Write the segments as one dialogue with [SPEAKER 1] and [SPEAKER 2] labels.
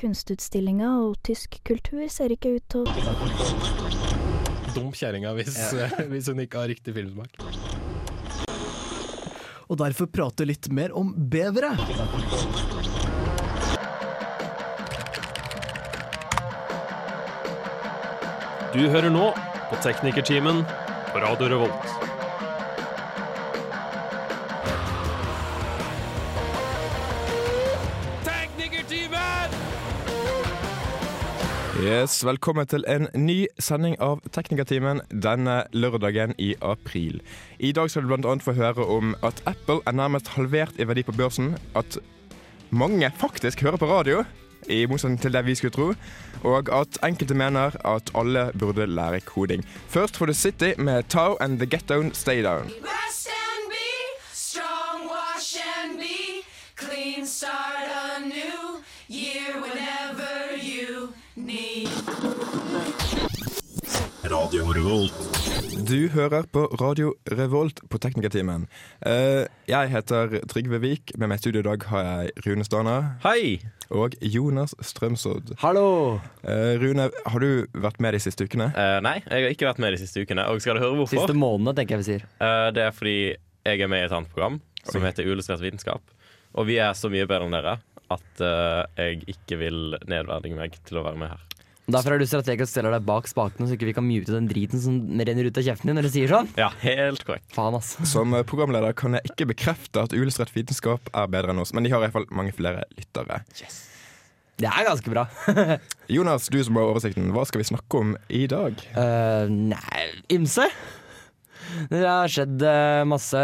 [SPEAKER 1] kunstutstillinga, og tysk kultur ser ikke ut til å
[SPEAKER 2] Dum kjerringa hvis, hvis hun ikke har riktig filmsmak.
[SPEAKER 3] og derfor prate litt mer om bevere.
[SPEAKER 4] Du hører nå på Teknikertimen på Radio Revolt.
[SPEAKER 5] Yes, Velkommen til en ny sending av Teknikertimen denne lørdagen i april. I dag skal du bl.a. få høre om at Apple er nærmest halvert i verdi på børsen. At mange faktisk hører på radio, i motsetning til det vi skulle tro. Og at enkelte mener at alle burde lære koding. Først får du City med Tao and The Get Down Stay Down.
[SPEAKER 6] Rest and be strong, wash and be clean, start a new year whenever you need.
[SPEAKER 5] Du hører på Radio Revolt på Teknikertimen. Eh, jeg heter Trygve Vik. Med meg i studio i dag har jeg Rune Stana.
[SPEAKER 7] Hei!
[SPEAKER 5] Og Jonas Strømsodd.
[SPEAKER 7] Hallo!
[SPEAKER 5] Eh, Rune, har du vært med de siste ukene?
[SPEAKER 4] Eh, nei, jeg har ikke vært med de siste ukene. Og skal du høre hvorfor?
[SPEAKER 7] Siste månedene, tenker jeg vi sier.
[SPEAKER 4] Eh, det er fordi jeg er med i et annet program som heter Uillustrert vitenskap. Og vi er så mye bedre enn dere at eh, jeg ikke vil nedverdige meg til å være med her.
[SPEAKER 7] Derfor er du strateg og stiller deg bak spakene, så ikke vi kan mute den driten som renner ut av kjeften din når du sier sånn.
[SPEAKER 4] Ja, helt korrekt.
[SPEAKER 7] Faen, ass.
[SPEAKER 5] Som programleder kan jeg ikke bekrefte at uillustrert vitenskap er bedre enn oss, men de har iallfall mange flere lyttere.
[SPEAKER 7] Det er ganske bra.
[SPEAKER 5] Jonas, du som har oversikten, hva skal vi snakke om i dag?
[SPEAKER 7] Eh, nei, ymse. Det har skjedd eh, masse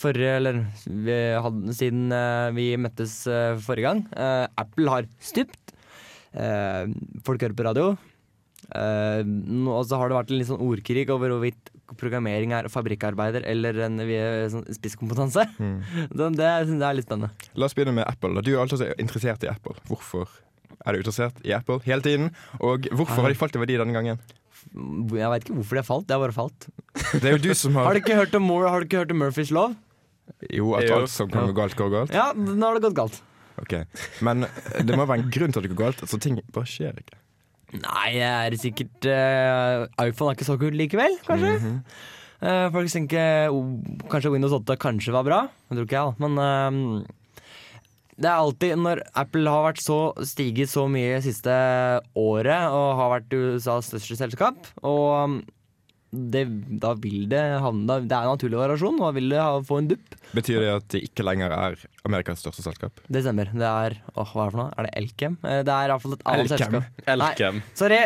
[SPEAKER 7] forrige Eller vi hadde, siden eh, vi møttes eh, forrige gang. Eh, Apple har stupt. Eh, folk hører på radio. Eh, nå- og så har det vært en litt sånn ordkrig over hvorvidt programmering er fabrikkarbeider eller en vi- sånn spisskompetanse. Så Det, synes jeg er litt spennende.
[SPEAKER 5] La oss begynne med Apple. da. Du er alltid så interessert i Apple. Hvorfor er du interessert i Apple hele tiden? Og hvorfor har de falt i verdi denne gangen?
[SPEAKER 7] Jeg veit ikke hvorfor det falt. Det har bare falt.
[SPEAKER 5] Det er jo du som
[SPEAKER 7] Har
[SPEAKER 5] har
[SPEAKER 7] du ikke hørt om, Moore- har du ikke hørt om Murphys lov?
[SPEAKER 5] Jo, at
[SPEAKER 4] Jo.
[SPEAKER 5] alt som kan gå galt, går galt.
[SPEAKER 7] Ja, nå har det gått galt.
[SPEAKER 5] Ok. Men det må være en grunn til at det går galt, så ting bare skjer ikke.
[SPEAKER 7] Nei, det er sikkert eh, iPhone er ikke så kult likevel,
[SPEAKER 5] Mm.
[SPEAKER 7] kanskje.
[SPEAKER 5] Mhm.
[SPEAKER 7] Eh, folk tenker oh, kanskje Windows 8 kanskje var bra. Det tror ikke jeg, da. Men eh, det er alltid når Apple har vært så, stiget så mye det siste året og har vært USAs største selskap, og um, det, da vil det havne da- Det er en naturlig variasjon, og da vil det ha, få en dupp.
[SPEAKER 5] Betyr det at de ikke lenger er Amerikas største selskap?
[SPEAKER 7] Det stemmer. Det er åh, hva er det for noe? Er det Elkem? Eh, Det er iallfall et annet
[SPEAKER 5] Elkem.
[SPEAKER 7] selskap.
[SPEAKER 4] Elkem.
[SPEAKER 7] Sorry!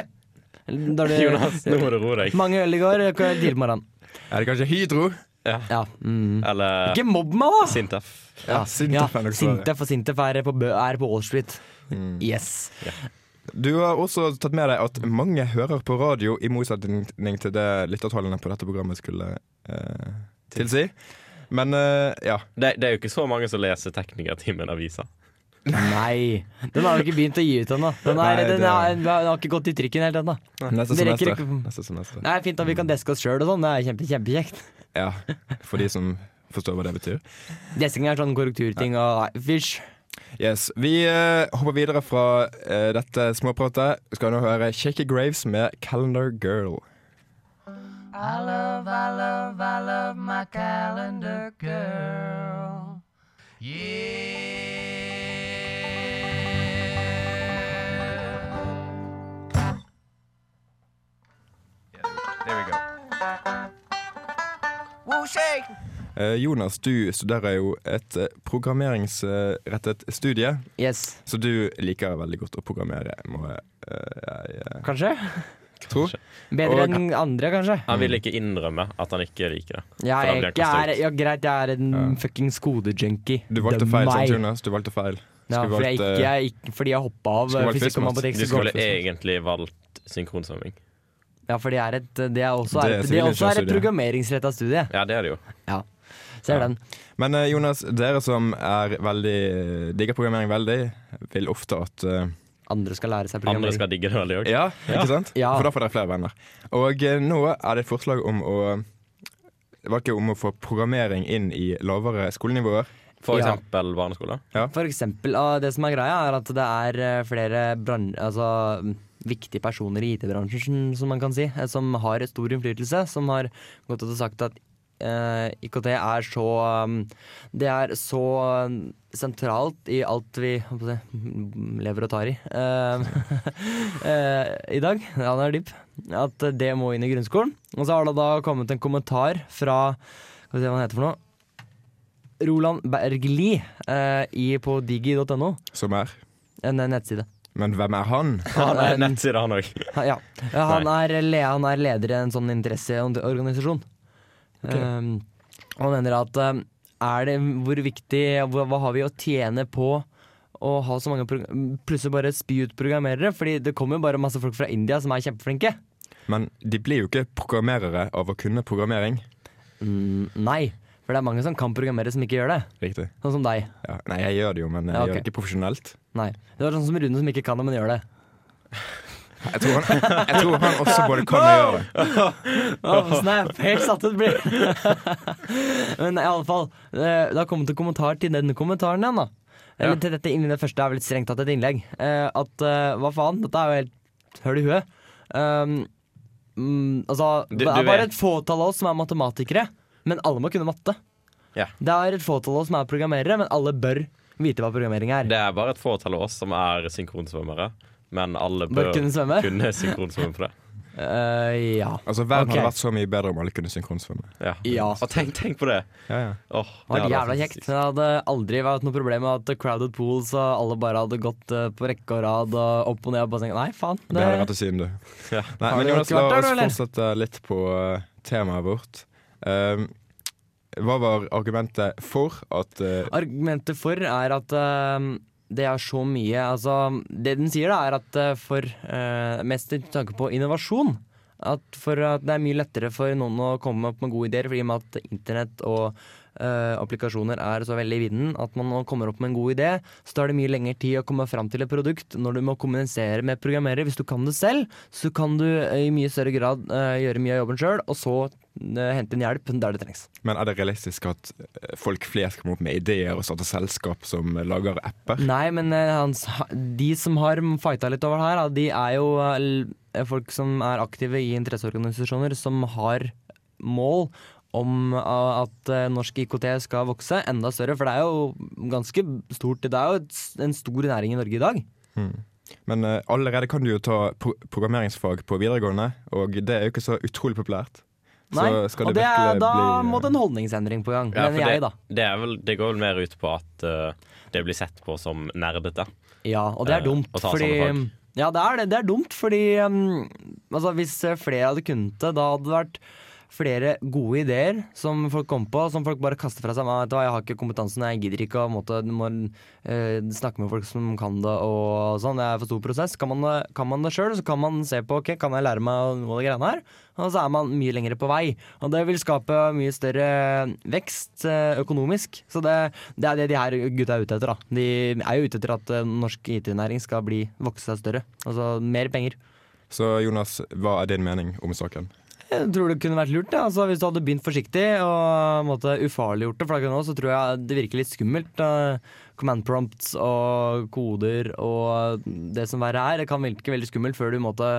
[SPEAKER 7] Da er det-
[SPEAKER 4] Jonas, nå må du roe deg.
[SPEAKER 7] Mange øl i går, jeg kan tidlig på morgenen.
[SPEAKER 5] Er det kanskje Hydro?
[SPEAKER 7] Ja. Mm.
[SPEAKER 4] Eller
[SPEAKER 7] Ikke mobb meg, da!
[SPEAKER 4] Sintef.
[SPEAKER 7] Ja,
[SPEAKER 5] Sintef er nok svaret.
[SPEAKER 7] Sintef og Sintef er på, Bø- er på Wall Street. Yes.
[SPEAKER 5] Mm. Du har også tatt med deg at mange hører på radio, i motsetning til det lyttertallene på dette programmet skulle eh, tilsi. Men eh, ja.
[SPEAKER 4] Det, det er jo ikke så mange som leser Teknikertimen-avisa.
[SPEAKER 7] Nei. Den har jo ikke begynt å gi ut ennå. Den, er-
[SPEAKER 5] Nei,
[SPEAKER 7] den,
[SPEAKER 5] det-
[SPEAKER 7] er- den har ikke gått i trykken helt ennå.
[SPEAKER 5] Neste
[SPEAKER 7] Det rekker
[SPEAKER 5] semester.
[SPEAKER 7] ikke-
[SPEAKER 5] Neste semester.
[SPEAKER 7] Det er fint at vi kan deske oss sjøl og sånn. Det er kjempe, kjempekjekt.
[SPEAKER 5] Ja, For de som forstår hva det betyr.
[SPEAKER 7] Desking er sånn korrekturting og nei, fysj.
[SPEAKER 5] Yes, Vi eh, hopper videre fra eh, dette småpratet. Skal nå høre Shaky Graves med 'Calendar Girl'.
[SPEAKER 6] I love, I love, I love my calendar girl.
[SPEAKER 5] Eh, Jonas, du studerer jo et eh, programmeringsrettet studie,
[SPEAKER 7] Yes.
[SPEAKER 5] så du liker veldig godt å programmere, må jeg, eh, jeg eh,
[SPEAKER 7] Kanskje?
[SPEAKER 5] tro.
[SPEAKER 7] Bedre
[SPEAKER 5] Og-
[SPEAKER 7] enn andre, kanskje.
[SPEAKER 4] Han vil ikke innrømme at han ikke liker det. For
[SPEAKER 7] Jeg
[SPEAKER 4] da
[SPEAKER 7] er,
[SPEAKER 4] blir
[SPEAKER 7] ikke,
[SPEAKER 4] han
[SPEAKER 7] er, ja, greit, jeg er en fuckings kodejunkie.
[SPEAKER 5] Du valgte
[SPEAKER 7] Døm
[SPEAKER 5] feil,
[SPEAKER 7] meg.
[SPEAKER 5] sant, Jonas? Du valgte feil.
[SPEAKER 7] Ja,
[SPEAKER 5] Skulle
[SPEAKER 7] fordi jeg,
[SPEAKER 5] valgt,
[SPEAKER 7] ikke,
[SPEAKER 5] eh,
[SPEAKER 7] jeg, ikke, fordi jeg hoppa av
[SPEAKER 5] Skulle
[SPEAKER 7] eh,
[SPEAKER 5] valgt
[SPEAKER 7] fysikk og
[SPEAKER 5] Christmas.
[SPEAKER 7] matematikk.
[SPEAKER 4] Du
[SPEAKER 7] så liksom.
[SPEAKER 4] skulle
[SPEAKER 7] går-
[SPEAKER 4] egentlig valgt synkronsvømming.
[SPEAKER 7] Ja, for det er et, det er også,
[SPEAKER 5] Det
[SPEAKER 7] er
[SPEAKER 5] er
[SPEAKER 7] et, det også er et
[SPEAKER 5] sivilingeniørstudie.
[SPEAKER 7] programmeringsretta studie.
[SPEAKER 4] Ja, det er det jo.
[SPEAKER 7] Ja. Ser
[SPEAKER 5] Ja.
[SPEAKER 7] den.
[SPEAKER 5] Men eh, Jonas, dere som er veldig digger programmering veldig, vil ofte at eh,
[SPEAKER 7] Andre skal lære seg
[SPEAKER 4] Andre
[SPEAKER 7] programmering.
[SPEAKER 4] skal digge det veldig òg.
[SPEAKER 5] Ja, ikke sant?
[SPEAKER 7] Ja.
[SPEAKER 5] For da får dere flere venner. Og eh, nå er det et forslag om å det var ikke om å få programmering inn i lavere skolenivåer.
[SPEAKER 4] For
[SPEAKER 7] Ja.
[SPEAKER 4] eksempel barneskole.
[SPEAKER 7] For eksempel, ah, det som er greia, er at det er eh, flere bran- altså, mm, viktige personer i IT-bransjen, som- som man kan si, eh, som har stor innflytelse, som har gått ut og sagt at eh, IKT er så um, Det er så um, sentralt i alt vi hva skal jeg si, mm, lever og tar i eh, eh, i dag. Ja, den er dyp. At eh, det må inn i grunnskolen. Og så har det da kommet en kommentar fra Skal vi se hva han heter for noe. Roland Bergli eh, i, på digi.no,
[SPEAKER 5] Som er.
[SPEAKER 7] en eh, nettside.
[SPEAKER 5] Men hvem er han?
[SPEAKER 4] Han
[SPEAKER 7] er
[SPEAKER 4] er
[SPEAKER 7] en-
[SPEAKER 4] nettside, han òg.
[SPEAKER 7] Ha- Ja. Ja, Han, er, le- han er leder i en sånn interesseorganisasjon. Um, og han mener at um, er det hvor viktig hva, hva har vi å tjene på å ha så mange prog- plutselig bare spy ut programmerere? Fordi det kommer jo bare masse folk fra India som er kjempeflinke.
[SPEAKER 5] Men de blir jo ikke programmerere av å kunne programmering.
[SPEAKER 7] Mm, nei, for det er mange som kan programmere som ikke gjør det.
[SPEAKER 5] Riktig.
[SPEAKER 7] Sånn som deg.
[SPEAKER 5] Ja. Nei, jeg gjør det jo, men jeg
[SPEAKER 7] Ja, ok.
[SPEAKER 5] gjør det ikke profesjonelt.
[SPEAKER 7] Nei. Det er sånn som Rune som ikke kan det, men gjør det.
[SPEAKER 5] Jeg tror han, jeg tror han også både kan og gjør det.
[SPEAKER 7] Oh, snap, helt satt ut blir Men i alle fall eh, Det har kommet en kommentar til denne kommentaren igjen da Eller til dette innlegget Det første er vel strengt tatt et innlegg Eh, At, eh, hva faen, dette er jo helt Hør du hø Um, Altså,
[SPEAKER 4] Du-
[SPEAKER 7] det
[SPEAKER 4] du
[SPEAKER 7] er bare
[SPEAKER 4] vet.
[SPEAKER 7] et fåtall av oss som er matematikere Men alle må kunne matte
[SPEAKER 4] Ja.
[SPEAKER 7] Det er et fåtall av oss som er programmerere Men alle bør vite hva programmering er
[SPEAKER 4] Det er bare et fåtall av oss som er synkronsvømmere, men alle
[SPEAKER 7] Bør
[SPEAKER 4] bør
[SPEAKER 7] kunne svømme
[SPEAKER 4] kunne synkronsvømme på det.
[SPEAKER 7] Eh, Ja,
[SPEAKER 5] Altså, Verden
[SPEAKER 7] Ok.
[SPEAKER 5] hadde vært så mye bedre om alle kunne synkronsvømme.
[SPEAKER 4] Ja.
[SPEAKER 7] ja
[SPEAKER 4] Og tenk, tenk på det!
[SPEAKER 5] Ja, ja.
[SPEAKER 4] Åh,
[SPEAKER 7] Det hadde vært jævla
[SPEAKER 4] vært
[SPEAKER 7] kjekt. Det hadde aldri vært noe problem med at crowded pools og alle bare hadde gått eh, på rekke og rad og opp og ned og bare tenkt nei, faen.
[SPEAKER 5] Det hadde vært å si om du.
[SPEAKER 4] Ja.
[SPEAKER 5] Nei,
[SPEAKER 7] Har
[SPEAKER 5] men
[SPEAKER 7] du
[SPEAKER 5] Jonas,
[SPEAKER 7] ikke
[SPEAKER 5] la
[SPEAKER 7] vært der,
[SPEAKER 5] oss
[SPEAKER 7] da, eller?
[SPEAKER 5] fortsette litt på eh, temaet vårt. Ehm, hva var argumentet for at eh,
[SPEAKER 7] Argumentet for er at eh, det er så mye Altså, det den sier, da, er at eh, for eh, Mest i tanke på innovasjon. At for at det er mye lettere for noen å komme opp med gode ideer, fordi med at internett og eh, applikasjoner er så veldig i vinden at man nå kommer opp med en god idé, så tar det mye lengre tid å komme fram til et produkt når du må kommunisere med programmerer. Hvis du kan det selv, så kan du eh, i mye større grad eh, gjøre mye av jobben sjøl, og så eh, hente inn hjelp der det trengs.
[SPEAKER 5] Men er det realistisk at eh, folk flest kommer opp med ideer og starter selskap som lager apper?
[SPEAKER 7] Nei, men eh, hans, de som har fighta litt over det her, da, de er jo eh, l- folk som er aktive i interesseorganisasjoner som har mål om eh, at eh, norsk IKT skal vokse enda større, for det er jo ganske stort. Det er jo et s- en stor næring i Norge i dag.
[SPEAKER 5] Men eh, allerede kan du jo ta pro programmeringsfag på videregående, og det er jo ikke så utrolig populært. Så
[SPEAKER 7] Nei,
[SPEAKER 5] skal
[SPEAKER 7] og
[SPEAKER 5] det
[SPEAKER 7] det er,
[SPEAKER 5] virkelig
[SPEAKER 7] da
[SPEAKER 5] bli-
[SPEAKER 7] må det en holdningsendring på gang,
[SPEAKER 4] Ja, for
[SPEAKER 7] mener jeg,
[SPEAKER 4] det,
[SPEAKER 7] da.
[SPEAKER 4] det, er vel, det går vel mer ut på at eh, det blir sett på som nerdete.
[SPEAKER 7] Ja, og det er
[SPEAKER 4] Eh,
[SPEAKER 7] dumt,
[SPEAKER 4] å ta
[SPEAKER 7] fordi
[SPEAKER 4] sånne fag.
[SPEAKER 7] Ja, det er det. Det er dumt, fordi um, altså, Hvis eh, flere hadde kunnet det, da hadde det vært flere gode ideer som folk kom på, som folk bare kaster fra seg. «Ah, Vet du hva, jeg har ikke kompetansen, jeg gidder ikke å måtte, du må, eh, snakke med folk som kan det og sånn. Det er for stor prosess. Kan man, det- kan man det sjøl, så kan man se på ok, kan jeg lære meg noe av det greiene her. Og så er man mye lengre på vei. Og det vil skape mye større vekst eh, økonomisk. Så det, det er det de her gutta er ute etter. da. De er jo ute etter at eh, norsk IT-næring skal bli vokse seg større. Altså mer penger.
[SPEAKER 5] Så Jonas, hva er din mening om saken?
[SPEAKER 7] Jeg tror det kunne vært lurt ja. altså, hvis du hadde begynt forsiktig og måtte, ufarliggjort det. For akkurat nå så tror jeg det virker litt skummelt. da. command prompts og koder og det som verre er. Det kan virke veldig skummelt før du måtte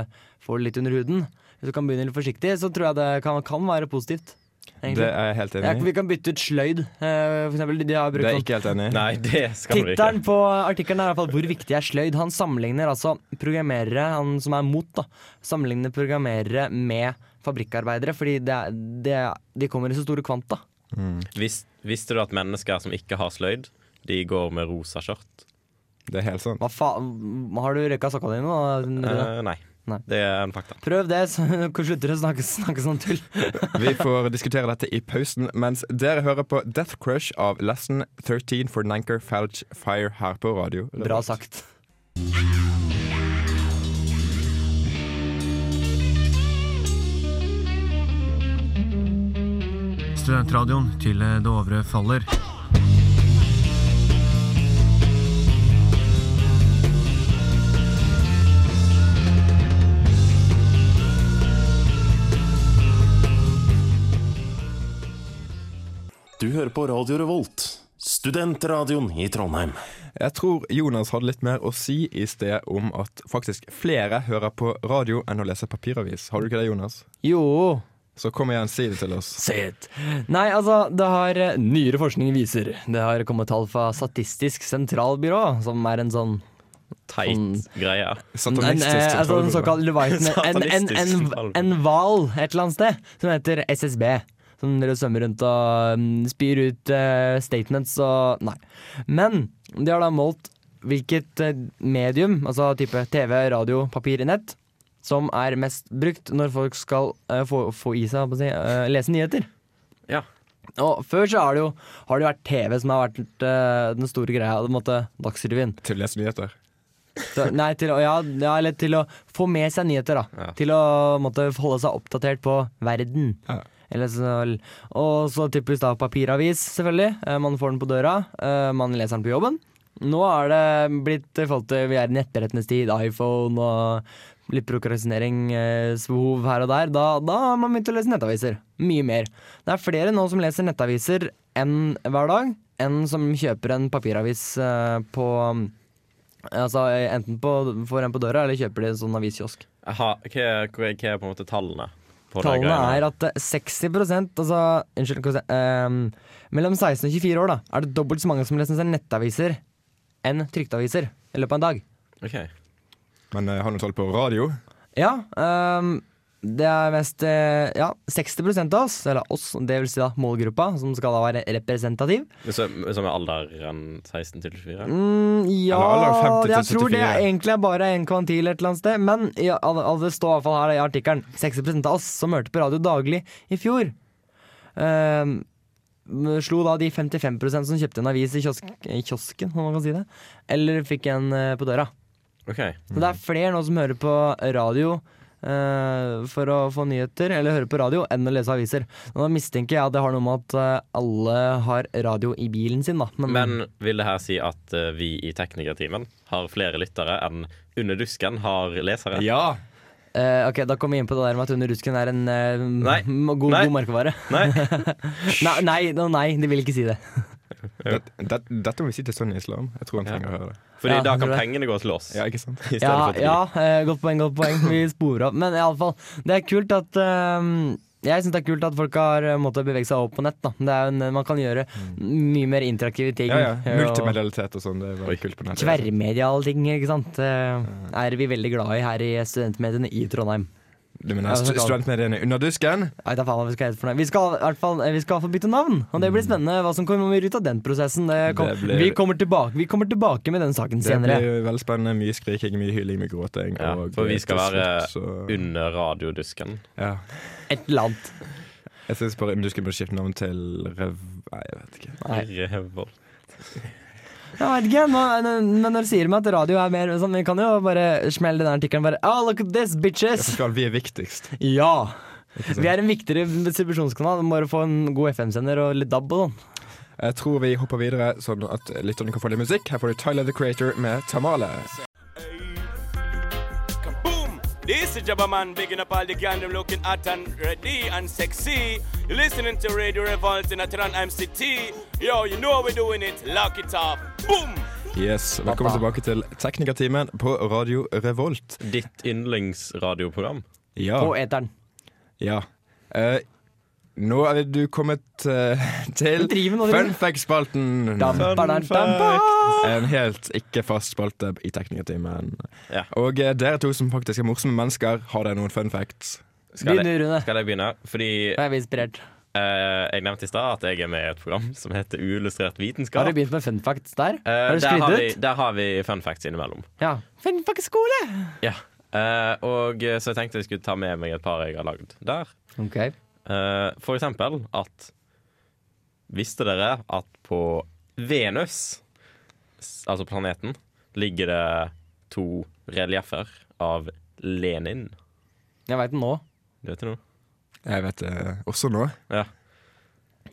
[SPEAKER 7] få det litt under huden. Hvis du kan begynne litt forsiktig, så tror jeg det kan, kan være positivt. egentlig.
[SPEAKER 5] Det er jeg helt
[SPEAKER 7] Ja,
[SPEAKER 5] enig i.
[SPEAKER 7] vi kan bytte ut sløyd, eh, for eksempel. De har
[SPEAKER 5] Det er
[SPEAKER 7] brukt
[SPEAKER 5] jeg
[SPEAKER 7] sånn.
[SPEAKER 5] ikke helt enig i.
[SPEAKER 4] Nei, det skal du ikke.
[SPEAKER 7] Tittelen på artikkelen er i hvert fall 'Hvor viktig er sløyd?' Han sammenligner altså programmerere, han som er mot, da, sammenligner programmerere med fabrikkarbeidere, fordi det, er- det, er- de kommer i så store kvanta.
[SPEAKER 4] Vis, visste du at mennesker som ikke har sløyd, de går med rosa skjørt?
[SPEAKER 5] Det er helt sant.
[SPEAKER 7] Hva faen Har du røyka sokka dine nå? Rune?
[SPEAKER 4] Eh, nei.
[SPEAKER 7] Nei.
[SPEAKER 4] Det er en fakta.
[SPEAKER 7] Prøv det, så slutter du å snakke, snakke sånn tull.
[SPEAKER 5] Vi får diskutere dette i pausen, mens dere hører på Death Crush av Lesson 13 for Nanker Falch Fire her på radio.
[SPEAKER 7] Bra sagt.
[SPEAKER 8] Studentradioen til Dovre faller.
[SPEAKER 9] Du hører på Radio Revolt, Studentradioen i Trondheim.
[SPEAKER 5] Jeg tror Jonas hadde litt mer å si i sted om at faktisk flere hører på radio enn å lese papiravis. Har du ikke det, Jonas?
[SPEAKER 7] Jo,
[SPEAKER 5] Så kom igjen, si det til oss.
[SPEAKER 7] Say it. Nei, altså, det har eh, nyere forskning viser. Det har kommet tall fra Statistisk sentralbyrå, som er en sånn
[SPEAKER 4] Teit
[SPEAKER 7] Sånn-
[SPEAKER 4] greie.
[SPEAKER 7] en,
[SPEAKER 5] Satanistisk
[SPEAKER 7] eh, altså, en
[SPEAKER 5] sentralbyrå.
[SPEAKER 7] såkalt Leviathan en, en, en,
[SPEAKER 4] Satanistisk
[SPEAKER 7] en hval et eller annet sted, som heter SSB. Som dere svømmer rundt og mm, spyr ut eh, statements og Nei. Men de har da målt hvilket eh, medium, altså type TV, radio, papir, nett, som er mest brukt når folk skal eh, få, få i seg, holdt på å si, eh, lese nyheter.
[SPEAKER 4] Ja.
[SPEAKER 7] Og før så har det jo, har det jo vært TV som har vært eh, den store greia. på en måte Dagsrevyen.
[SPEAKER 5] Til å lese nyheter.
[SPEAKER 7] Så, nei, til, å- ja, ja, eller til å få med seg nyheter, da.
[SPEAKER 4] Ja.
[SPEAKER 7] Til å måtte holde seg oppdatert på verden.
[SPEAKER 5] Ja.
[SPEAKER 7] Eller så, og så typisk da papiravis, selvfølgelig. Eh, Man får den på døra, eh, man leser den på jobben. Nå er det blitt i forhold til vi er i nettbrettens tid, iPhone og litt prokrastineringsbehov her og der. Da, da har man begynt å lese nettaviser. Mye mer. Det er flere nå som leser nettaviser enn hver dag, enn som kjøper en papiravis eh, på Altså Enten på, får en på døra, eller kjøper de en sånn aviskiosk.
[SPEAKER 4] Aha, hva, er- hva er hva er på en måte tallene? På
[SPEAKER 7] Tallene er at eh, 60 altså, Unnskyld, hva sa jeg, ehm, mellom 16 og 24 år da er det dobbelt så mange som leser seg nettaviser enn trykte aviser i løpet av en dag.
[SPEAKER 5] Men eh, har du tall på radio?
[SPEAKER 7] Ja, ehm, det er mest eh, Ja, 60 av oss, eller oss, det vil si da målgruppa, som skal da være representativ.
[SPEAKER 4] Som, som er alderen 16 til 24?
[SPEAKER 7] Mm, ja,
[SPEAKER 5] Eller alder 50 til
[SPEAKER 7] jeg tror det
[SPEAKER 5] 74.
[SPEAKER 7] egentlig er bare en kvantil et eller annet sted. Men ja, al- al- det står i hvert fall her i artikkelen 60 av oss som hørte på radio daglig i fjor, ehm, slo da de 55 som kjøpte en avis i, kiosk, i kiosken, om man kan si det, eller fikk en eh, på døra.
[SPEAKER 4] OK.
[SPEAKER 7] Så det
[SPEAKER 5] Mm.
[SPEAKER 7] er flere nå som hører på radio eh, for å få nyheter, eller høre på radio, enn å lese aviser. Nå mistenker jeg at det har noe med at eh, alle har radio i bilen sin, da. Men,
[SPEAKER 4] Men vil det her si at eh, vi i teknikertimen har flere lyttere enn Under dusken har lesere?
[SPEAKER 5] Ja!
[SPEAKER 7] Eh, ok, Da kommer vi inn på det der med at Under rusken er en eh,
[SPEAKER 4] Nei.
[SPEAKER 7] m- god,
[SPEAKER 4] Nei.
[SPEAKER 7] god merkevare.
[SPEAKER 4] Nei?
[SPEAKER 7] Nei, nei, no, nei, de vil ikke si det.
[SPEAKER 5] Det, det, dette må vi si til Sonny Islam. Jeg tror han trenger å høre det.
[SPEAKER 4] Fordi
[SPEAKER 7] Ja,
[SPEAKER 4] da
[SPEAKER 7] tror
[SPEAKER 4] kan
[SPEAKER 7] det.
[SPEAKER 4] pengene gå til oss.
[SPEAKER 5] Ja, ikke sant?
[SPEAKER 4] I stedet
[SPEAKER 7] Ja,
[SPEAKER 4] for til
[SPEAKER 7] ja eh, Godt poeng, godt poeng. Vi sporer opp. Men iallfall, det er kult at eh, Jeg syns det er kult at folk har eh, måttet bevege seg over på nett. da Det er jo en, Man kan gjøre
[SPEAKER 4] Mm.
[SPEAKER 7] mye mer interaktive ting. eh,
[SPEAKER 5] Ja, ja.
[SPEAKER 7] og
[SPEAKER 5] Multimedialitet og sånn. Det er
[SPEAKER 4] Oi.
[SPEAKER 5] veldig kult på nettet. Eh,
[SPEAKER 7] Tverrmediale ting, ikke sant. Det er vi veldig glad i her i studentmediene i Trondheim.
[SPEAKER 5] Du mener
[SPEAKER 7] Ja, det er
[SPEAKER 5] stu-
[SPEAKER 7] sant.
[SPEAKER 5] studentmediene under dusken?
[SPEAKER 7] Nei, da faen hva vi skal hete for noe. Vi skal i hvert fall, eh, vi skal i hvert fall bytte navn, og det blir spennende hva som kommer ut av den prosessen. Det kom,
[SPEAKER 5] Det blir-
[SPEAKER 7] vi, kommer tilbake, vi kommer tilbake med den saken
[SPEAKER 5] Det
[SPEAKER 7] senere.
[SPEAKER 5] blir veldig spennende. Mye skriking, mye hyling, mye gråting.
[SPEAKER 4] Ja,
[SPEAKER 5] og eh,
[SPEAKER 4] for vi skal
[SPEAKER 5] til
[SPEAKER 4] være
[SPEAKER 5] slutt, så-
[SPEAKER 4] Under radiodusken.
[SPEAKER 5] ja.
[SPEAKER 7] Et eller annet.
[SPEAKER 5] Jeg syns bare Under dusken burde skifte navn til Rev... Nei, jeg vet ikke.
[SPEAKER 7] Nei.
[SPEAKER 4] Revolt.
[SPEAKER 7] Jeg vet ikke, nå- nå- Men når du sier meg at radio er mer sånn, vi kan jo bare smelle den artikkelen bare Oh, look at this, bitches!
[SPEAKER 5] Skal vi er viktigst?
[SPEAKER 7] Ja!
[SPEAKER 5] Ikke sant?
[SPEAKER 7] Vi er en viktigere distribusjonskanal. Bare få en god FM-sender og litt DAB og sånn.
[SPEAKER 5] Jeg tror vi hopper videre, sånn at lytterne kan få litt musikk. Her får du Tyler the Creator med Tamale.
[SPEAKER 10] Boom! This is Jabba Man bigging up all the gang, them looking hot and ready and sexy. You're listening to Radio Revolt in Atran MCT. Yo, you know how we're doing it. Lock it up. Boom!
[SPEAKER 5] Yes, Velkommen tilbake til Teknikertimen på Radio Revolt.
[SPEAKER 4] Ditt yndlingsradioprogram.
[SPEAKER 5] Ja.
[SPEAKER 7] Og eteren.
[SPEAKER 5] ja. Eh, nå er du kommet eh, til
[SPEAKER 7] Driver nå,
[SPEAKER 5] Fun
[SPEAKER 7] driver.
[SPEAKER 5] fact-spalten.
[SPEAKER 7] Dam, ba, dam, dam, ba.
[SPEAKER 5] En helt ikke fast spalte i Teknikertimen.
[SPEAKER 4] Ja.
[SPEAKER 5] Og eh, dere to som faktisk er morsomme mennesker, har dere noen fun facts?
[SPEAKER 4] Skal
[SPEAKER 7] Begynn,
[SPEAKER 4] jeg,
[SPEAKER 7] Rune.
[SPEAKER 4] skal jeg begynne? Fordi
[SPEAKER 7] Da er vi inspirert.
[SPEAKER 4] eh, jeg nevnte i stad at jeg er med i et program som heter Uillustrert vitenskap.
[SPEAKER 7] Har du begynt med fun facts der?
[SPEAKER 4] Eh,
[SPEAKER 7] Har du
[SPEAKER 4] der, har vi,
[SPEAKER 7] skrytt ut?
[SPEAKER 4] der har vi fun facts innimellom.
[SPEAKER 7] Ja. Fun facts skole!
[SPEAKER 4] Ja. Eh, og eh, Så jeg tenkte jeg skulle ta med meg et par jeg har lagd der.
[SPEAKER 7] Ok.
[SPEAKER 4] Eh, for eksempel at Visste dere at på Venus, s- altså planeten, ligger det to relieffer av Lenin?
[SPEAKER 7] Jeg veit den nå.
[SPEAKER 4] Du vet det nå?
[SPEAKER 5] Jeg vet det også nå.
[SPEAKER 4] Ja.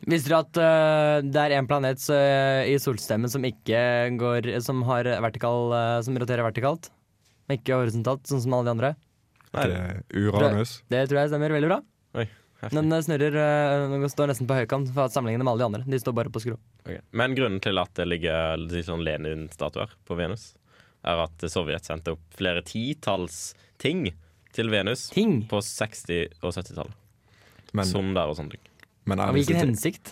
[SPEAKER 7] Visste dere at eh, det er en planet eh, i solstemmen som ikke går Som, har vertikal, eh, som roterer vertikalt, men ikke horisontalt, sånn som alle de andre?
[SPEAKER 4] Nei,
[SPEAKER 5] Det er Uranus.
[SPEAKER 7] Det tror jeg stemmer veldig bra.
[SPEAKER 4] Oi.
[SPEAKER 7] Den eh, snurrer eh, Den står nesten på høykant for å sammenligne med alle de andre. De står bare på skrå.
[SPEAKER 4] Ok. Men grunnen til at det ligger litt sånn Lenin-statuer på Venus, er at Sovjet sendte opp flere titalls ting til Venus
[SPEAKER 7] Ting!
[SPEAKER 4] på 60- og 70-tallet.
[SPEAKER 5] Men,
[SPEAKER 4] Sonder og sånne ting.
[SPEAKER 5] men er,
[SPEAKER 7] Av
[SPEAKER 5] disse,
[SPEAKER 7] hvilken
[SPEAKER 5] ting-
[SPEAKER 7] hensikt?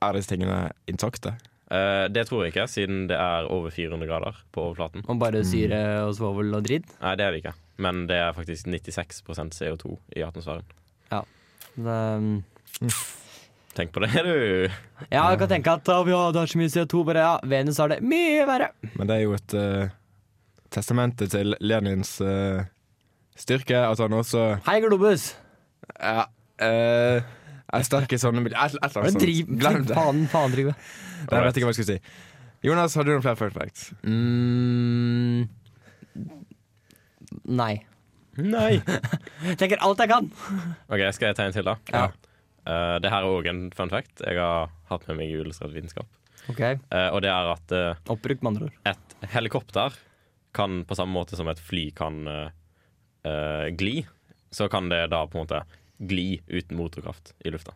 [SPEAKER 5] er disse tingene intakte?
[SPEAKER 4] Eh, det tror jeg ikke, siden det er over 400 grader på overflaten.
[SPEAKER 7] Om bare syre og svovel og dritt?
[SPEAKER 4] Nei, det er det ikke. Men det er faktisk 96 CO2 i atmosfæren.
[SPEAKER 7] Det- eh,
[SPEAKER 4] Tenk på det, du!
[SPEAKER 7] Ja, jeg kan tenke at å, ja, det er så mye CO2, bare ja, Venus har det mye verre.
[SPEAKER 5] Men det er jo et eh, testamente til Lenins eh, styrke, at han også
[SPEAKER 7] Hei, Globus!
[SPEAKER 5] ja, eh, er sterk i sånne miljø... Et, et eller
[SPEAKER 7] Hva
[SPEAKER 5] annet sånt.
[SPEAKER 7] driver
[SPEAKER 5] Altså, Glem det.
[SPEAKER 7] Faen, faen, Trygve.
[SPEAKER 5] Nei, Jeg vet ikke hva jeg skulle si. Jonas, har du noen flere fun facts?
[SPEAKER 7] Mm, nei.
[SPEAKER 4] Nei!
[SPEAKER 7] Jeg tenker alt jeg kan.
[SPEAKER 4] Ok, Skal jeg ta en til, da?
[SPEAKER 7] Ja.
[SPEAKER 4] Eh, det her er òg en fun fact jeg har hatt med meg i uillustrert vitenskap.
[SPEAKER 7] Ok,
[SPEAKER 4] Eh, og det er at eh,
[SPEAKER 7] Oppbrukt, med andre ord.
[SPEAKER 4] et helikopter kan på samme måte som et fly kan eh, eh, gli, så kan det da på en måte gli uten motorkraft i lufta.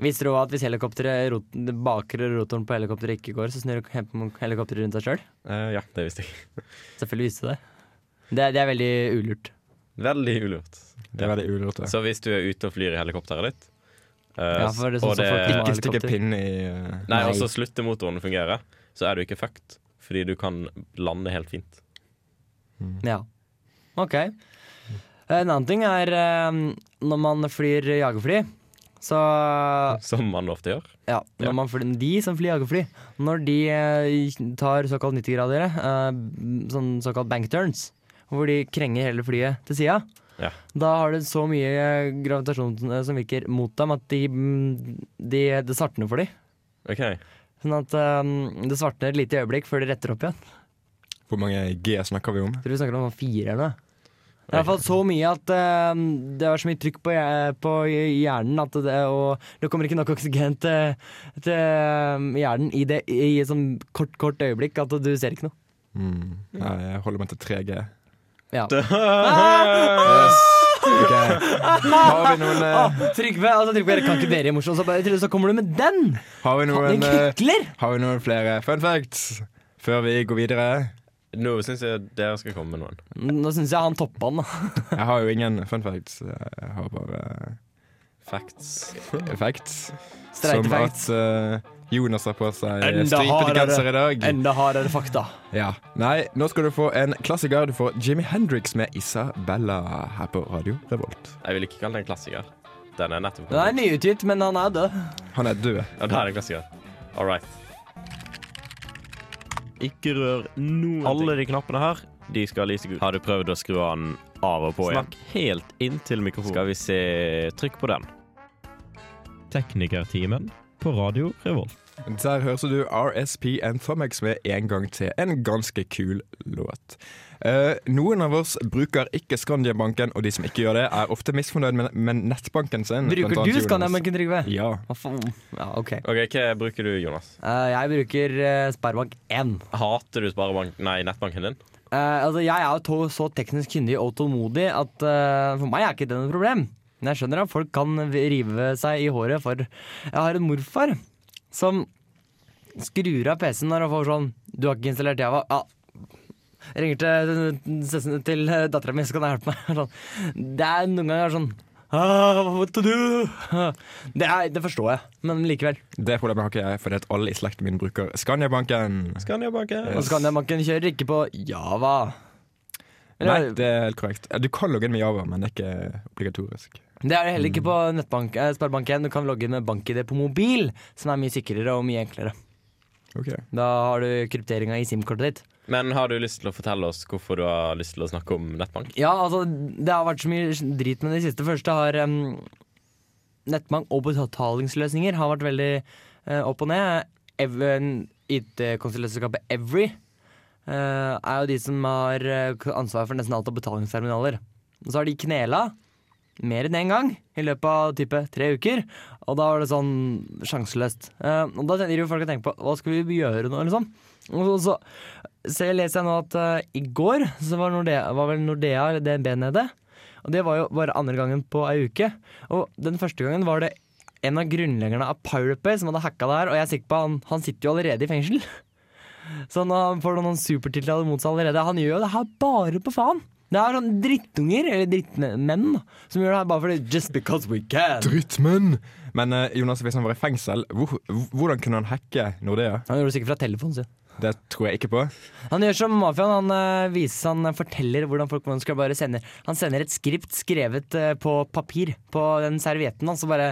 [SPEAKER 7] Visste du også at hvis helikopteret, rot- den bakre rotoren på helikopteret ikke går, så snur he- helikopteret rundt seg sjøl?
[SPEAKER 4] Eh, ja, det visste jeg.
[SPEAKER 7] Selvfølgelig visste du det. det. Det er veldig ulurt.
[SPEAKER 4] Veldig ulurt.
[SPEAKER 5] Det er veldig ulurte.
[SPEAKER 4] Så hvis du er ute og flyr i helikopteret ditt, eh,
[SPEAKER 7] Ja, for det er sånn
[SPEAKER 4] og
[SPEAKER 7] som folk liker.
[SPEAKER 5] Ikke stikke
[SPEAKER 7] Helikopter.
[SPEAKER 5] pinne i eh,
[SPEAKER 4] Nei, altså,
[SPEAKER 7] Nei.
[SPEAKER 4] og så slutter motoren å fungere, så er du ikke fucked. Fordi du kan lande helt fint.
[SPEAKER 7] Ja. Ok. En annen ting er eh, når man flyr jagerfly, så Ah.
[SPEAKER 4] Som man ofte gjør.
[SPEAKER 7] Ja, når
[SPEAKER 4] Ja.
[SPEAKER 7] man flyr, de som flyr jagerfly, når de eh, tar såkalt 90-gradere, eh, sånn såkalt bankturns, hvor de krenger hele flyet til sida,
[SPEAKER 4] Ja.
[SPEAKER 7] da har det så mye eh, gravitasjon eh, som virker mot dem, at de, mm, de, det svartner for dem.
[SPEAKER 4] OK.
[SPEAKER 7] Sånn at eh, det svartner et lite øyeblikk før de retter opp igjen.
[SPEAKER 5] Hvor mange G snakker vi om?
[SPEAKER 7] Jeg tror vi snakker om sånn fire eller noe. Det er i hvert fall så mye at eh, det var så mye trykk på, hjer- på hjernen at det, og det kommer ikke nok oksygen til, til eh, hjernen i, det, i et sånn kort, kort øyeblikk at du ser ikke noe.
[SPEAKER 5] Mm. Nei, jeg holder meg til 3G.
[SPEAKER 7] Ja.
[SPEAKER 5] Yes. Ok. Har vi noen, eh,
[SPEAKER 7] Trygve, altså, Trygve dere kan ikke dere i morsomt, så, bare- Trygve, så kommer du med den!
[SPEAKER 5] har vi
[SPEAKER 7] Den
[SPEAKER 5] noen, eh,
[SPEAKER 7] kvikler!
[SPEAKER 5] har vi noen flere fun facts før vi går videre?
[SPEAKER 4] Nå syns jeg dere skal komme med noen.
[SPEAKER 7] Nå syns jeg han toppa den. da.
[SPEAKER 5] Jeg har jo ingen fun facts. Jeg har bare
[SPEAKER 4] Facts.
[SPEAKER 5] eh, facts.
[SPEAKER 7] Streite
[SPEAKER 5] som
[SPEAKER 7] facts.
[SPEAKER 5] at eh, Jonas har på seg
[SPEAKER 7] Enda
[SPEAKER 5] stripete
[SPEAKER 7] hardere.
[SPEAKER 5] genser i dag.
[SPEAKER 7] Enda hardere fakta.
[SPEAKER 5] Ja. Nei, nå skal du få en klassiker. Du får Jimmy Hendrix med Isabella her på Radio Revolt.
[SPEAKER 4] Jeg vil ikke kalle det en klassiker. Den er nettopp
[SPEAKER 7] Den er
[SPEAKER 4] kommet.
[SPEAKER 7] nyutgitt, men han er død.
[SPEAKER 5] Han er død.
[SPEAKER 4] Ja, da er det en klassiker. All right.
[SPEAKER 9] Ikke rør noen ting.
[SPEAKER 4] Alle de knappene her, de skal lyse gult. Har du prøvd å skru den av og på igjen?
[SPEAKER 9] Snakk helt inntil mikrofonen.
[SPEAKER 4] Skal vi se Trykk på den.
[SPEAKER 9] Teknikertimen på Radio Revolt.
[SPEAKER 5] Der hørte du RSP and Thomex med en gang til. En ganske kul låt. Eh, noen av oss bruker ikke Skandiabanken, og de som ikke gjør det, er ofte misfornøyd med, med nettbanken sin. blant
[SPEAKER 7] Bruker
[SPEAKER 5] annet
[SPEAKER 7] du
[SPEAKER 5] Jonas.
[SPEAKER 7] Skandiabanken, Trygve?
[SPEAKER 5] Ja.
[SPEAKER 7] Hva faen? Ja, OK.
[SPEAKER 4] OK, hva bruker du, Jonas?
[SPEAKER 7] Eh, jeg bruker eh, Sparebank1.
[SPEAKER 4] Hater du sparebank... Nei, nettbanken din?
[SPEAKER 7] Eh, altså, jeg er jo to, så teknisk kyndig og tålmodig at eh, for meg er ikke det noe problem. Men jeg skjønner at folk kan rive seg i håret for Jeg har en morfar som skrur av PC-en når han får sånn Du har ikke installert Java? Ja. Jeg ringer til, til, til dattera mi, så kan jeg hjelpe meg. Sånn. Det er noen ganger sånn «Ah, What to do? Det, er, det forstår jeg, men likevel.
[SPEAKER 5] Det problemet har ikke jeg, fordi at alle i slekten min bruker Skandiabanken.
[SPEAKER 4] Skandiabanken.
[SPEAKER 7] Og så kan jeg, man kan kjøre ikke på Java.
[SPEAKER 5] Nei, det er helt korrekt. Du kan logge inn med Java, men det er ikke obligatorisk.
[SPEAKER 7] Det er det heller ikke på nettbank, eh, Sparebank1. Du kan logge inn med BankID på mobil, som er mye sikrere og mye enklere.
[SPEAKER 5] Ok.
[SPEAKER 7] Da har du krypteringa i SIM-kortet ditt.
[SPEAKER 4] Men har du lyst til å fortelle oss hvorfor du har lyst til å snakke om nettbank?
[SPEAKER 7] Ja, altså, det har vært så mye drit med det siste. Først har em, nettbank og betalingsløsninger har vært veldig eh, opp og ned. Ev- en- IT-konsulentselskapet Every eh, er jo de som har eh, ansvar for nesten alt av betalingsterminaler. Og så har de knela mer enn én gang i løpet av type tre uker, og da var det sånn sjanseløst. Eh, og da tenker jo folk og tenker på hva skal vi gjøre nå, liksom. Og så, så så jeg leser jeg nå at eh, i går så var Nordea, var vel Nordea eller DNB nede. Og det var jo bare andre gangen på ei uke. Og den første gangen var det en av grunnleggerne av Pirate Bay som hadde hacka det her, og jeg er sikker på han, han sitter jo allerede i fengsel. Så han har- får noen supertiltaler mot seg allerede. Han gjør jo det her bare på faen. Det er sånn drittunger, eller drittmenn, da, som gjør det her bare fordi Just because we can.
[SPEAKER 5] Drittmenn! Men eh, Jonas, hvis han var i fengsel, hvor, hvordan kunne han hacke Nordea?
[SPEAKER 7] Han gjorde det sikkert fra telefonen sin.
[SPEAKER 5] Det tror jeg ikke på.
[SPEAKER 7] Han gjør som mafiaen. Han, eh, viser, han forteller hvordan folk man skal bare sende Han sender et skript skrevet eh, på papir på den servietten hans, og bare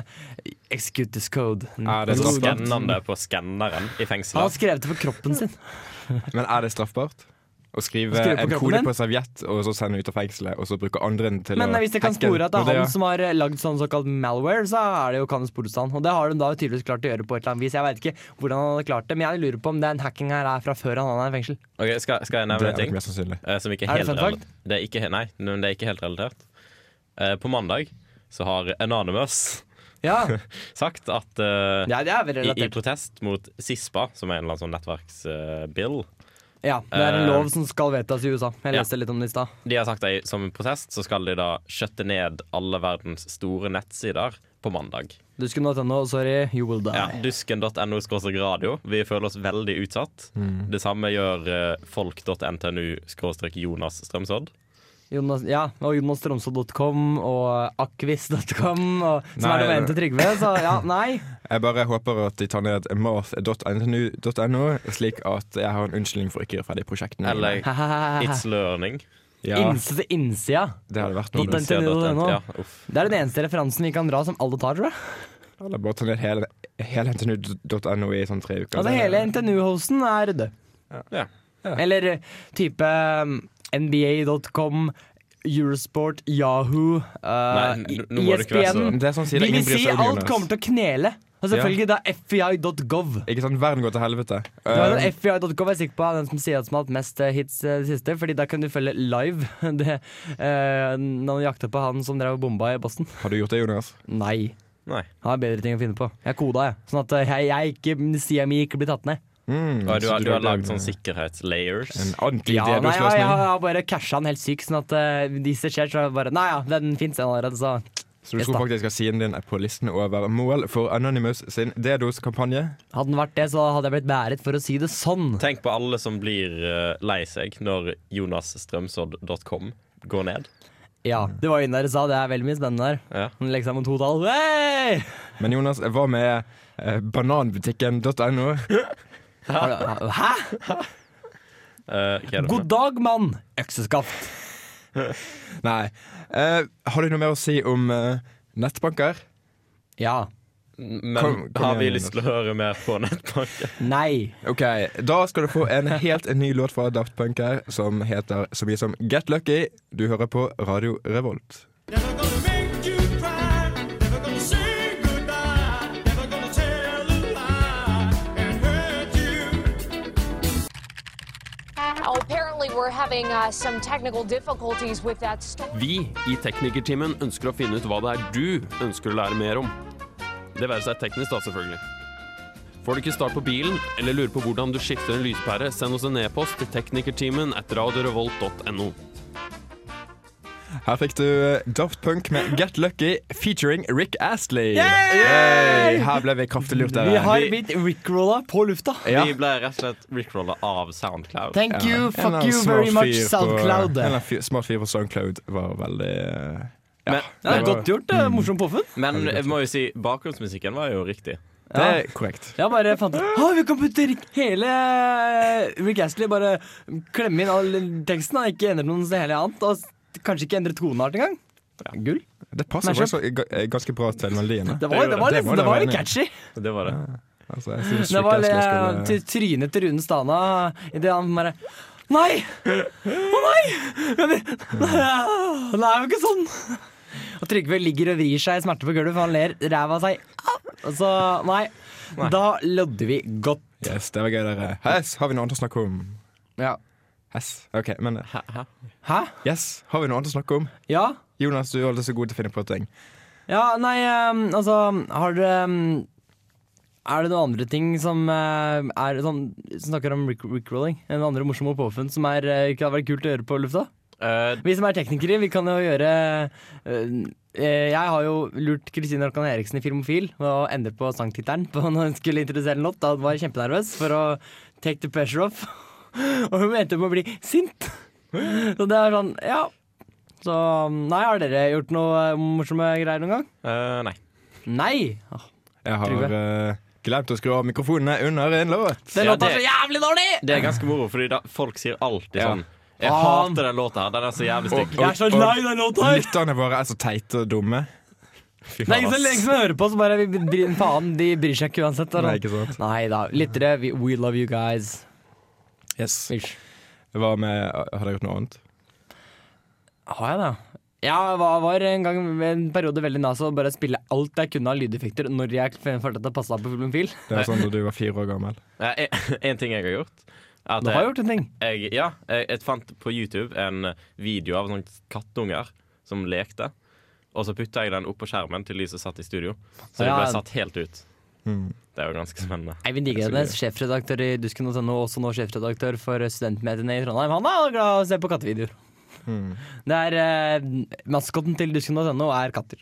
[SPEAKER 7] Execute this code.
[SPEAKER 5] Er det
[SPEAKER 4] Så
[SPEAKER 5] straffbart?
[SPEAKER 4] skanner han det Altså, på skanneren i
[SPEAKER 7] Han
[SPEAKER 4] fengselet.
[SPEAKER 7] skrev det på kroppen sin.
[SPEAKER 5] Men er det straffbart? Å skrive
[SPEAKER 7] Skrive på
[SPEAKER 5] en
[SPEAKER 7] kroppen
[SPEAKER 5] kode
[SPEAKER 7] din?
[SPEAKER 5] på serviett og så sende ut av fengselet, og så bruke andre til
[SPEAKER 7] Men eh,
[SPEAKER 5] å
[SPEAKER 7] hvis det kan
[SPEAKER 5] hacke
[SPEAKER 7] spore at det er
[SPEAKER 5] Nordea?
[SPEAKER 7] han som har eh, lagd sånn såkalt malware, så er det jo kan det spores han. Og det har de da tydeligvis klart å gjøre på et eller annet vis. Jeg veit ikke hvordan han hadde klart det, men jeg lurer på om den hackinga her er fra før han er i fengsel.
[SPEAKER 4] Ok, skal, skal jeg
[SPEAKER 5] Det
[SPEAKER 4] nevne en
[SPEAKER 5] er
[SPEAKER 4] ting
[SPEAKER 5] nok mest sannsynlig.
[SPEAKER 4] eh, som ikke
[SPEAKER 7] Er
[SPEAKER 4] er
[SPEAKER 7] det
[SPEAKER 4] helt
[SPEAKER 7] fun fact?
[SPEAKER 4] relatert? Det er ikke, he- nei, men det er ikke helt relatert. Eh, På mandag så har Anonymous
[SPEAKER 7] Ja,
[SPEAKER 4] sagt at eh,
[SPEAKER 7] ja det er vel
[SPEAKER 4] i, I
[SPEAKER 7] relatert.
[SPEAKER 4] protest mot SISPA, som er en eller annen sånn nettverksbill,
[SPEAKER 7] Ja, Det er
[SPEAKER 4] Eh,
[SPEAKER 7] en lov som skal vedtas i USA. Jeg
[SPEAKER 4] ja.
[SPEAKER 7] leste litt om det i stad.
[SPEAKER 4] De har sagt at som en protest så skal de da skjøtte ned alle verdens store nettsider på mandag.
[SPEAKER 7] Dusken.no, sorry, you will die.
[SPEAKER 4] Ja, Dusken.no skråstrek radio. Vi føler oss veldig utsatt.
[SPEAKER 5] Mm.
[SPEAKER 4] Det samme gjør eh, folk.ntnu skråstrek Jonas Strømsodd.
[SPEAKER 7] Jonas, ja, og jonasstromsø.com og akvis.com, og- som er
[SPEAKER 5] Nei.
[SPEAKER 7] domenet til Trygve. Så ja, nei.
[SPEAKER 5] Jeg bare håper at de tar ned math.no, slik at jeg har en unnskyldning for ikke å gjøre ferdig prosjektene. mine.
[SPEAKER 4] Eller It's Learning.
[SPEAKER 5] ja,
[SPEAKER 7] Inse til innsida.
[SPEAKER 5] Det hadde vært
[SPEAKER 7] Dot
[SPEAKER 5] noe.
[SPEAKER 7] .no.
[SPEAKER 4] Ja, uff.
[SPEAKER 7] Det er den eneste referansen vi kan dra som alle tar, tror jeg.
[SPEAKER 5] Eller bare ta ned hele, hele ntnu.no i sånn tre uker.
[SPEAKER 7] Altså
[SPEAKER 5] Det-
[SPEAKER 7] hele NTNU-hosten er død.
[SPEAKER 4] Ja.
[SPEAKER 7] Eller eh, type um, NBA.com, Eurosport, Yahoo, E eh,
[SPEAKER 4] Nei,
[SPEAKER 7] I-
[SPEAKER 4] nå må du ikke være så-
[SPEAKER 7] ISBN
[SPEAKER 5] Det er sånn sider ingen bryr
[SPEAKER 7] BBC,
[SPEAKER 5] seg om,
[SPEAKER 7] alt kommer
[SPEAKER 5] Jonas.
[SPEAKER 7] til å knele. Og selvfølgelig da FBI.gov.
[SPEAKER 5] Ikke sant? Verden går til helvete.
[SPEAKER 7] Det var
[SPEAKER 5] Eh,
[SPEAKER 7] den FBI.com jeg er sikker på er den som sier at som har hatt mest eh, hits eh, det siste, fordi da kan du følge live det, eh, når du jakter på han som drev og bomba i Boston.
[SPEAKER 5] har du gjort det, Jonas?
[SPEAKER 7] Nei.
[SPEAKER 4] Nei.
[SPEAKER 5] Mm.
[SPEAKER 7] Jeg har bedre ting å finne på. Jeg koda, jeg. Sånn at eh, jeg, jeg ikke, sida mi ikke blir tatt ned.
[SPEAKER 5] Mm,
[SPEAKER 4] Og du,
[SPEAKER 5] så
[SPEAKER 4] har- du har
[SPEAKER 5] lagde
[SPEAKER 4] lagd
[SPEAKER 5] en-
[SPEAKER 4] sånn sikkerhetslayers.
[SPEAKER 5] En ordentlig
[SPEAKER 7] Ja, nei, ja, jeg, har-
[SPEAKER 5] DDoS-løsning.
[SPEAKER 7] jeg har bare casha den helt syk, sånn at eh, de som ser, så bare Nei ja, den fins allerede, så
[SPEAKER 5] Så du
[SPEAKER 7] Yes,
[SPEAKER 5] tror
[SPEAKER 7] da.
[SPEAKER 5] faktisk at siden din er på listen over mål for Anonymous sin DDoS-kampanje?
[SPEAKER 7] hadde den vært det, så hadde jeg blitt bæret, for å si det sånn.
[SPEAKER 4] Tenk på alle som blir eh, lei seg når jonasstrømsodd.com går ned.
[SPEAKER 7] Ja, Det var jo inne der jeg sa, det er veldig mye spennende der.
[SPEAKER 4] Ja.
[SPEAKER 7] Den legger seg mot to tall. Hey!
[SPEAKER 5] Men Jonas, hva med eh, bananbutikken.no?
[SPEAKER 7] Har du- Hæ?
[SPEAKER 4] Eh, hva er det for
[SPEAKER 7] God dag, mann! Økseskaft.
[SPEAKER 5] Nei. Eh, har du noe mer å si om eh, nettbanker?
[SPEAKER 7] Ja.
[SPEAKER 4] noe? Men
[SPEAKER 5] Kom- kom
[SPEAKER 4] har vi
[SPEAKER 5] igjen,
[SPEAKER 4] lyst til å høre mer på nettbanken?
[SPEAKER 7] Nei.
[SPEAKER 5] Ok, Da skal du få en helt ny låt fra Daft Punk her, som heter så mye som Get Lucky. Du hører på Radio Revolt.
[SPEAKER 6] apparently, we're having uh, some technical difficulties with that story.
[SPEAKER 10] Vi i Teknikertimen ønsker å finne ut hva det er du ønsker å lære mer om. Det være seg teknisk, da, selvfølgelig. Får du ikke start på bilen, eller lurer på hvordan du skifter en lyspære, send oss en e-post til teknikertimen at radiorevolt.no.
[SPEAKER 5] Her fikk du eh, Daft Punk med Get Lucky featuring Rick Astley. Yay! Her ble vi kraftig lurt. eh.
[SPEAKER 7] Vi
[SPEAKER 5] dere.
[SPEAKER 7] har blitt rickrolla på lufta.
[SPEAKER 5] Ja.
[SPEAKER 4] Vi ble rett og slett rickrolla av Soundcloud.
[SPEAKER 7] Thank
[SPEAKER 5] En
[SPEAKER 7] you,
[SPEAKER 5] eller
[SPEAKER 7] fuck
[SPEAKER 5] annen
[SPEAKER 7] you
[SPEAKER 5] smart
[SPEAKER 7] very much,
[SPEAKER 5] fyr på-
[SPEAKER 7] Soundcloud.
[SPEAKER 5] En eller annen fyr- smart fyr på Soundcloud var veldig eh,
[SPEAKER 4] Men,
[SPEAKER 7] Ja, det er
[SPEAKER 4] men,
[SPEAKER 7] godt gjort.
[SPEAKER 5] Mm.
[SPEAKER 7] eh, Morsom påfunn.
[SPEAKER 4] men jeg må jo si bakgrunnsmusikken var jo riktig.
[SPEAKER 5] Det er korrekt.
[SPEAKER 7] Jeg bare fant ut Å, Ah, vi kan putte Rick, hele eh, Rick Astley Bare klemme inn all teksten og ikke endre noe hele annet. Og s- kanskje ikke endre toneart engang. Gull.
[SPEAKER 5] Det passer
[SPEAKER 7] Mashup.
[SPEAKER 5] faktisk ga- ganske bra til melodien. da.
[SPEAKER 7] Det var, det var,
[SPEAKER 5] Det
[SPEAKER 7] litt,
[SPEAKER 5] må
[SPEAKER 7] det
[SPEAKER 5] det
[SPEAKER 7] var
[SPEAKER 5] være enig i.
[SPEAKER 7] litt catchy.
[SPEAKER 4] Det var det.
[SPEAKER 5] Altså, jeg synes
[SPEAKER 7] Det var
[SPEAKER 5] Rick Astley
[SPEAKER 7] eh,
[SPEAKER 5] skulle-
[SPEAKER 7] til trynet til Rune Stana idet han bare Nei! Å nei! Det er jo ikke sånn. Og Trygve ligger og vrir seg i smerte på gulvet, for han ler ræva av seg. Og Så nei. Da lodder vi godt.
[SPEAKER 5] Yes, det var gøy, dere. Yes, har vi noe annet å snakke om?
[SPEAKER 7] Ja.
[SPEAKER 5] Yes, ok, men eh,
[SPEAKER 7] Hæ?
[SPEAKER 5] Yes, har vi noe annet å snakke om?
[SPEAKER 7] Ja?
[SPEAKER 5] Jonas, du er alltid så god til å finne på ting.
[SPEAKER 7] Ja, nei, ehm, altså Har dere ehm, Er det noen andre ting som eh, er sånn Som snakker om rick- rickrolling? Noen andre morsomme påfunn som er, eh, ikke hadde vært kult å gjøre på lufta?
[SPEAKER 4] Eh,
[SPEAKER 7] Vi som er teknikere, vi kan jo gjøre øh, eh, Jeg har jo lurt Kristine Orkan Eriksen i Filmofil med å endre på sangtittelen på når hun skulle introdusere en låt. Da var jeg kjempenervøs for å take the pressure off. Og hun endte med å bli sint. Så det er sånn, ja. Så um, nei, har dere gjort noe eh, morsomme greier noen gang?
[SPEAKER 4] eh, nei.
[SPEAKER 7] Nei! Åh,
[SPEAKER 5] Jeg har
[SPEAKER 7] Trygve.
[SPEAKER 5] eh, glemt å skru av mikrofonene under en låt.
[SPEAKER 7] Den
[SPEAKER 4] Ja,
[SPEAKER 7] låta
[SPEAKER 4] det-
[SPEAKER 7] er så jævlig dårlig!
[SPEAKER 4] Det er ganske moro, fordi da, folk sier alltid
[SPEAKER 5] Ja.
[SPEAKER 4] sånn Jeg
[SPEAKER 7] Faen.
[SPEAKER 4] hater den låta her. Den er så jævlig
[SPEAKER 5] Og-
[SPEAKER 4] stygg.
[SPEAKER 7] Jeg er så
[SPEAKER 5] og-
[SPEAKER 7] lei den låta her!
[SPEAKER 5] Lytterne våre er så teite og dumme.
[SPEAKER 4] Fy
[SPEAKER 7] Nei,
[SPEAKER 4] faen,
[SPEAKER 7] så lenge
[SPEAKER 4] ass.
[SPEAKER 7] som hører på, så bare vi bryr, Faen, de bryr seg ikke uansett.
[SPEAKER 5] Nei,
[SPEAKER 7] Nei,
[SPEAKER 5] ikke sant?
[SPEAKER 7] nei da. Lyttere, we, we love you guys.
[SPEAKER 5] Yes.
[SPEAKER 7] Ish.
[SPEAKER 5] Hva med Har jeg gjort noe annet?
[SPEAKER 7] Har jeg det? Jeg var, var en gang ved en periode veldig nas og bare spille alt jeg kunne av lydeffekter når jeg f- følte at det passa på film fil.
[SPEAKER 5] Det er sånn da du var fire år gammel.
[SPEAKER 4] Eh, en- En ting jeg har gjort er at
[SPEAKER 7] Du har gjort en ting.
[SPEAKER 4] jeg, ja, jeg, jeg fant på YouTube en video av sånne kattunger som lekte. Og så putta jeg den opp på skjermen til de som satt i studio. Så de
[SPEAKER 7] Ja.
[SPEAKER 4] ble satt helt ut.
[SPEAKER 5] Hmm,
[SPEAKER 4] Det er jo ganske spennende.
[SPEAKER 7] Eivind Digrenes, sjefredaktør i Dusken.no, også nå sjefredaktør for studentmediene i Trondheim. Han er glad i å se på kattevideoer.
[SPEAKER 5] hmm.
[SPEAKER 7] Det er eh, Maskotten til Dusken.no er katter.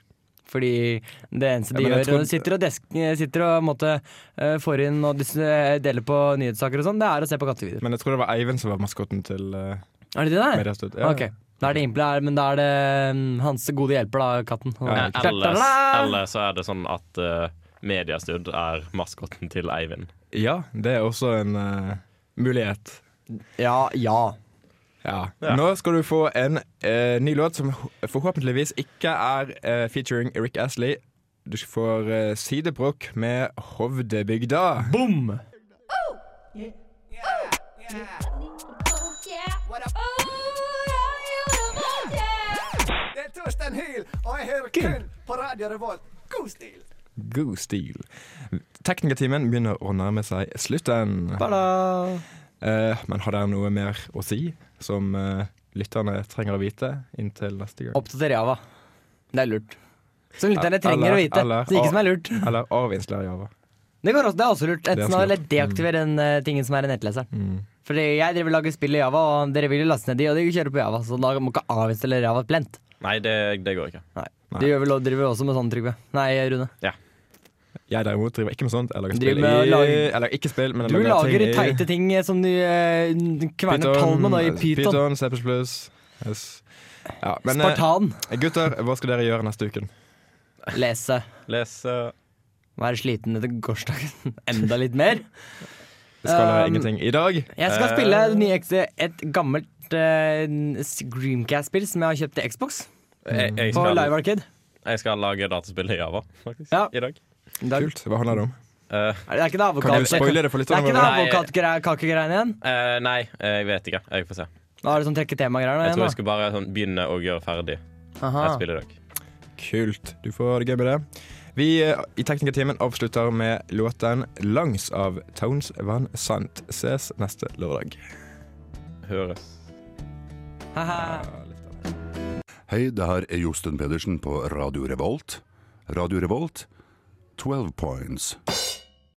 [SPEAKER 7] Fordi det eneste de
[SPEAKER 5] Ja, men jeg
[SPEAKER 7] gjør,
[SPEAKER 5] tror-
[SPEAKER 7] sitter og, desk, sitter og måtte, eh, får inn og dis- eh, deler på nyhetssaker og sånn, det er å se på kattevideoer.
[SPEAKER 5] Men jeg tror det var Eivind som var maskotten til uh,
[SPEAKER 7] Er det det der?
[SPEAKER 5] Mediestøt. Ja.
[SPEAKER 7] Ok, da er det Impel her, men da er det mm, hans gode hjelper da, katten.
[SPEAKER 5] Ja,
[SPEAKER 4] Eh, Ellers, ellers så er det sånn at uh, Mediestud er maskotten til Eivind.
[SPEAKER 5] ja, det er også en eh, mulighet.
[SPEAKER 7] Ja, ja.
[SPEAKER 5] Ja. Nå skal du få en eh, ny låt som ho- forhåpentligvis ikke er eh, featuring Rick Astley. Du får uh, sidebrokk med Hovdebygda.
[SPEAKER 7] Boom!
[SPEAKER 3] Det er Torstein Hyl, og jeg hører kun på Radio Revolt. God stil!
[SPEAKER 5] God stil. Teknikertimen begynner å nærme seg slutten.
[SPEAKER 7] Bada!
[SPEAKER 5] Eh, men har dere noe mer å si som eh, lytterne trenger å vite inntil neste gang?
[SPEAKER 7] Oppdater Java. Det er lurt. Som lytterne trenger
[SPEAKER 5] Eller-
[SPEAKER 7] å vite.
[SPEAKER 5] eller-
[SPEAKER 7] så ikke som er lurt.
[SPEAKER 5] Eller avinslær Java.
[SPEAKER 7] Det, går også, det er også lurt. Enten
[SPEAKER 5] også
[SPEAKER 7] å deaktivere den eh, tingen som er i nettleseren.
[SPEAKER 5] Mm.
[SPEAKER 7] Fordi jeg driver og lager spill i Java, og dere vil jo laste ned de, og de kjører på Java, så da må ikke avinstallere Java plent.
[SPEAKER 4] Nei, det, det går ikke.
[SPEAKER 7] Du gjør vel, driver også med sånn, Trygve. Nei, Rune.
[SPEAKER 5] Jeg derimot driver ikke med sånt. Jeg lager
[SPEAKER 7] Driver
[SPEAKER 5] spill i
[SPEAKER 7] med å lage-
[SPEAKER 5] Eller ikke spill, men
[SPEAKER 7] Du
[SPEAKER 5] jeg lager,
[SPEAKER 7] lager
[SPEAKER 5] ting
[SPEAKER 7] teite ting eh, som du eh, kverner tall med da, i Pyton.
[SPEAKER 5] Python, C++. Yes. Ja, men eh,
[SPEAKER 7] Spartan.
[SPEAKER 5] gutter, hva skal dere gjøre neste uken?
[SPEAKER 7] Lese.
[SPEAKER 4] Les eh,
[SPEAKER 7] Være sliten etter gårsdagen. Enda litt mer.
[SPEAKER 5] Skal dere
[SPEAKER 7] Um,
[SPEAKER 5] ingenting i dag?
[SPEAKER 7] Jeg
[SPEAKER 4] Eh.
[SPEAKER 7] skal spille nye, X- et gammelt eh, Screamcast-spill som jeg har kjøpt til Xbox.
[SPEAKER 4] jeg, jeg,
[SPEAKER 7] På Live
[SPEAKER 4] skal,
[SPEAKER 7] Arcade.
[SPEAKER 4] jeg skal lage dataspill i Java faktisk,
[SPEAKER 7] Ja.
[SPEAKER 4] i dag.
[SPEAKER 7] I dag.
[SPEAKER 5] Kult. Hva handler det om?
[SPEAKER 4] Eh,
[SPEAKER 7] Er det er ikke
[SPEAKER 5] Kan
[SPEAKER 7] det avokat-
[SPEAKER 5] du spoile det for
[SPEAKER 7] Det er ikke
[SPEAKER 5] lytterne
[SPEAKER 7] det
[SPEAKER 5] våre?
[SPEAKER 4] Nei.
[SPEAKER 7] avokatkakegreiene igjen?
[SPEAKER 4] eh, nei, jeg vet ikke. Jeg får se.
[SPEAKER 7] Nå er det sånn trekke tema-greier nå
[SPEAKER 4] Jeg tror jeg
[SPEAKER 7] igjen,
[SPEAKER 4] skal bare sånn, begynne å gjøre ferdig
[SPEAKER 7] da. Aha.
[SPEAKER 4] et spill i dag.
[SPEAKER 5] Kult. Du får ha det gøy med det. Vi eh, i Teknikertimen avslutter med låten 'Langs' av Towns Van Sant. Ses neste lørdag.
[SPEAKER 4] Høres.
[SPEAKER 7] Haha.
[SPEAKER 5] Ja, litt av det.
[SPEAKER 11] Hei, det her er Josten Pedersen på Radio Revolt. Radio Revolt, 12 points.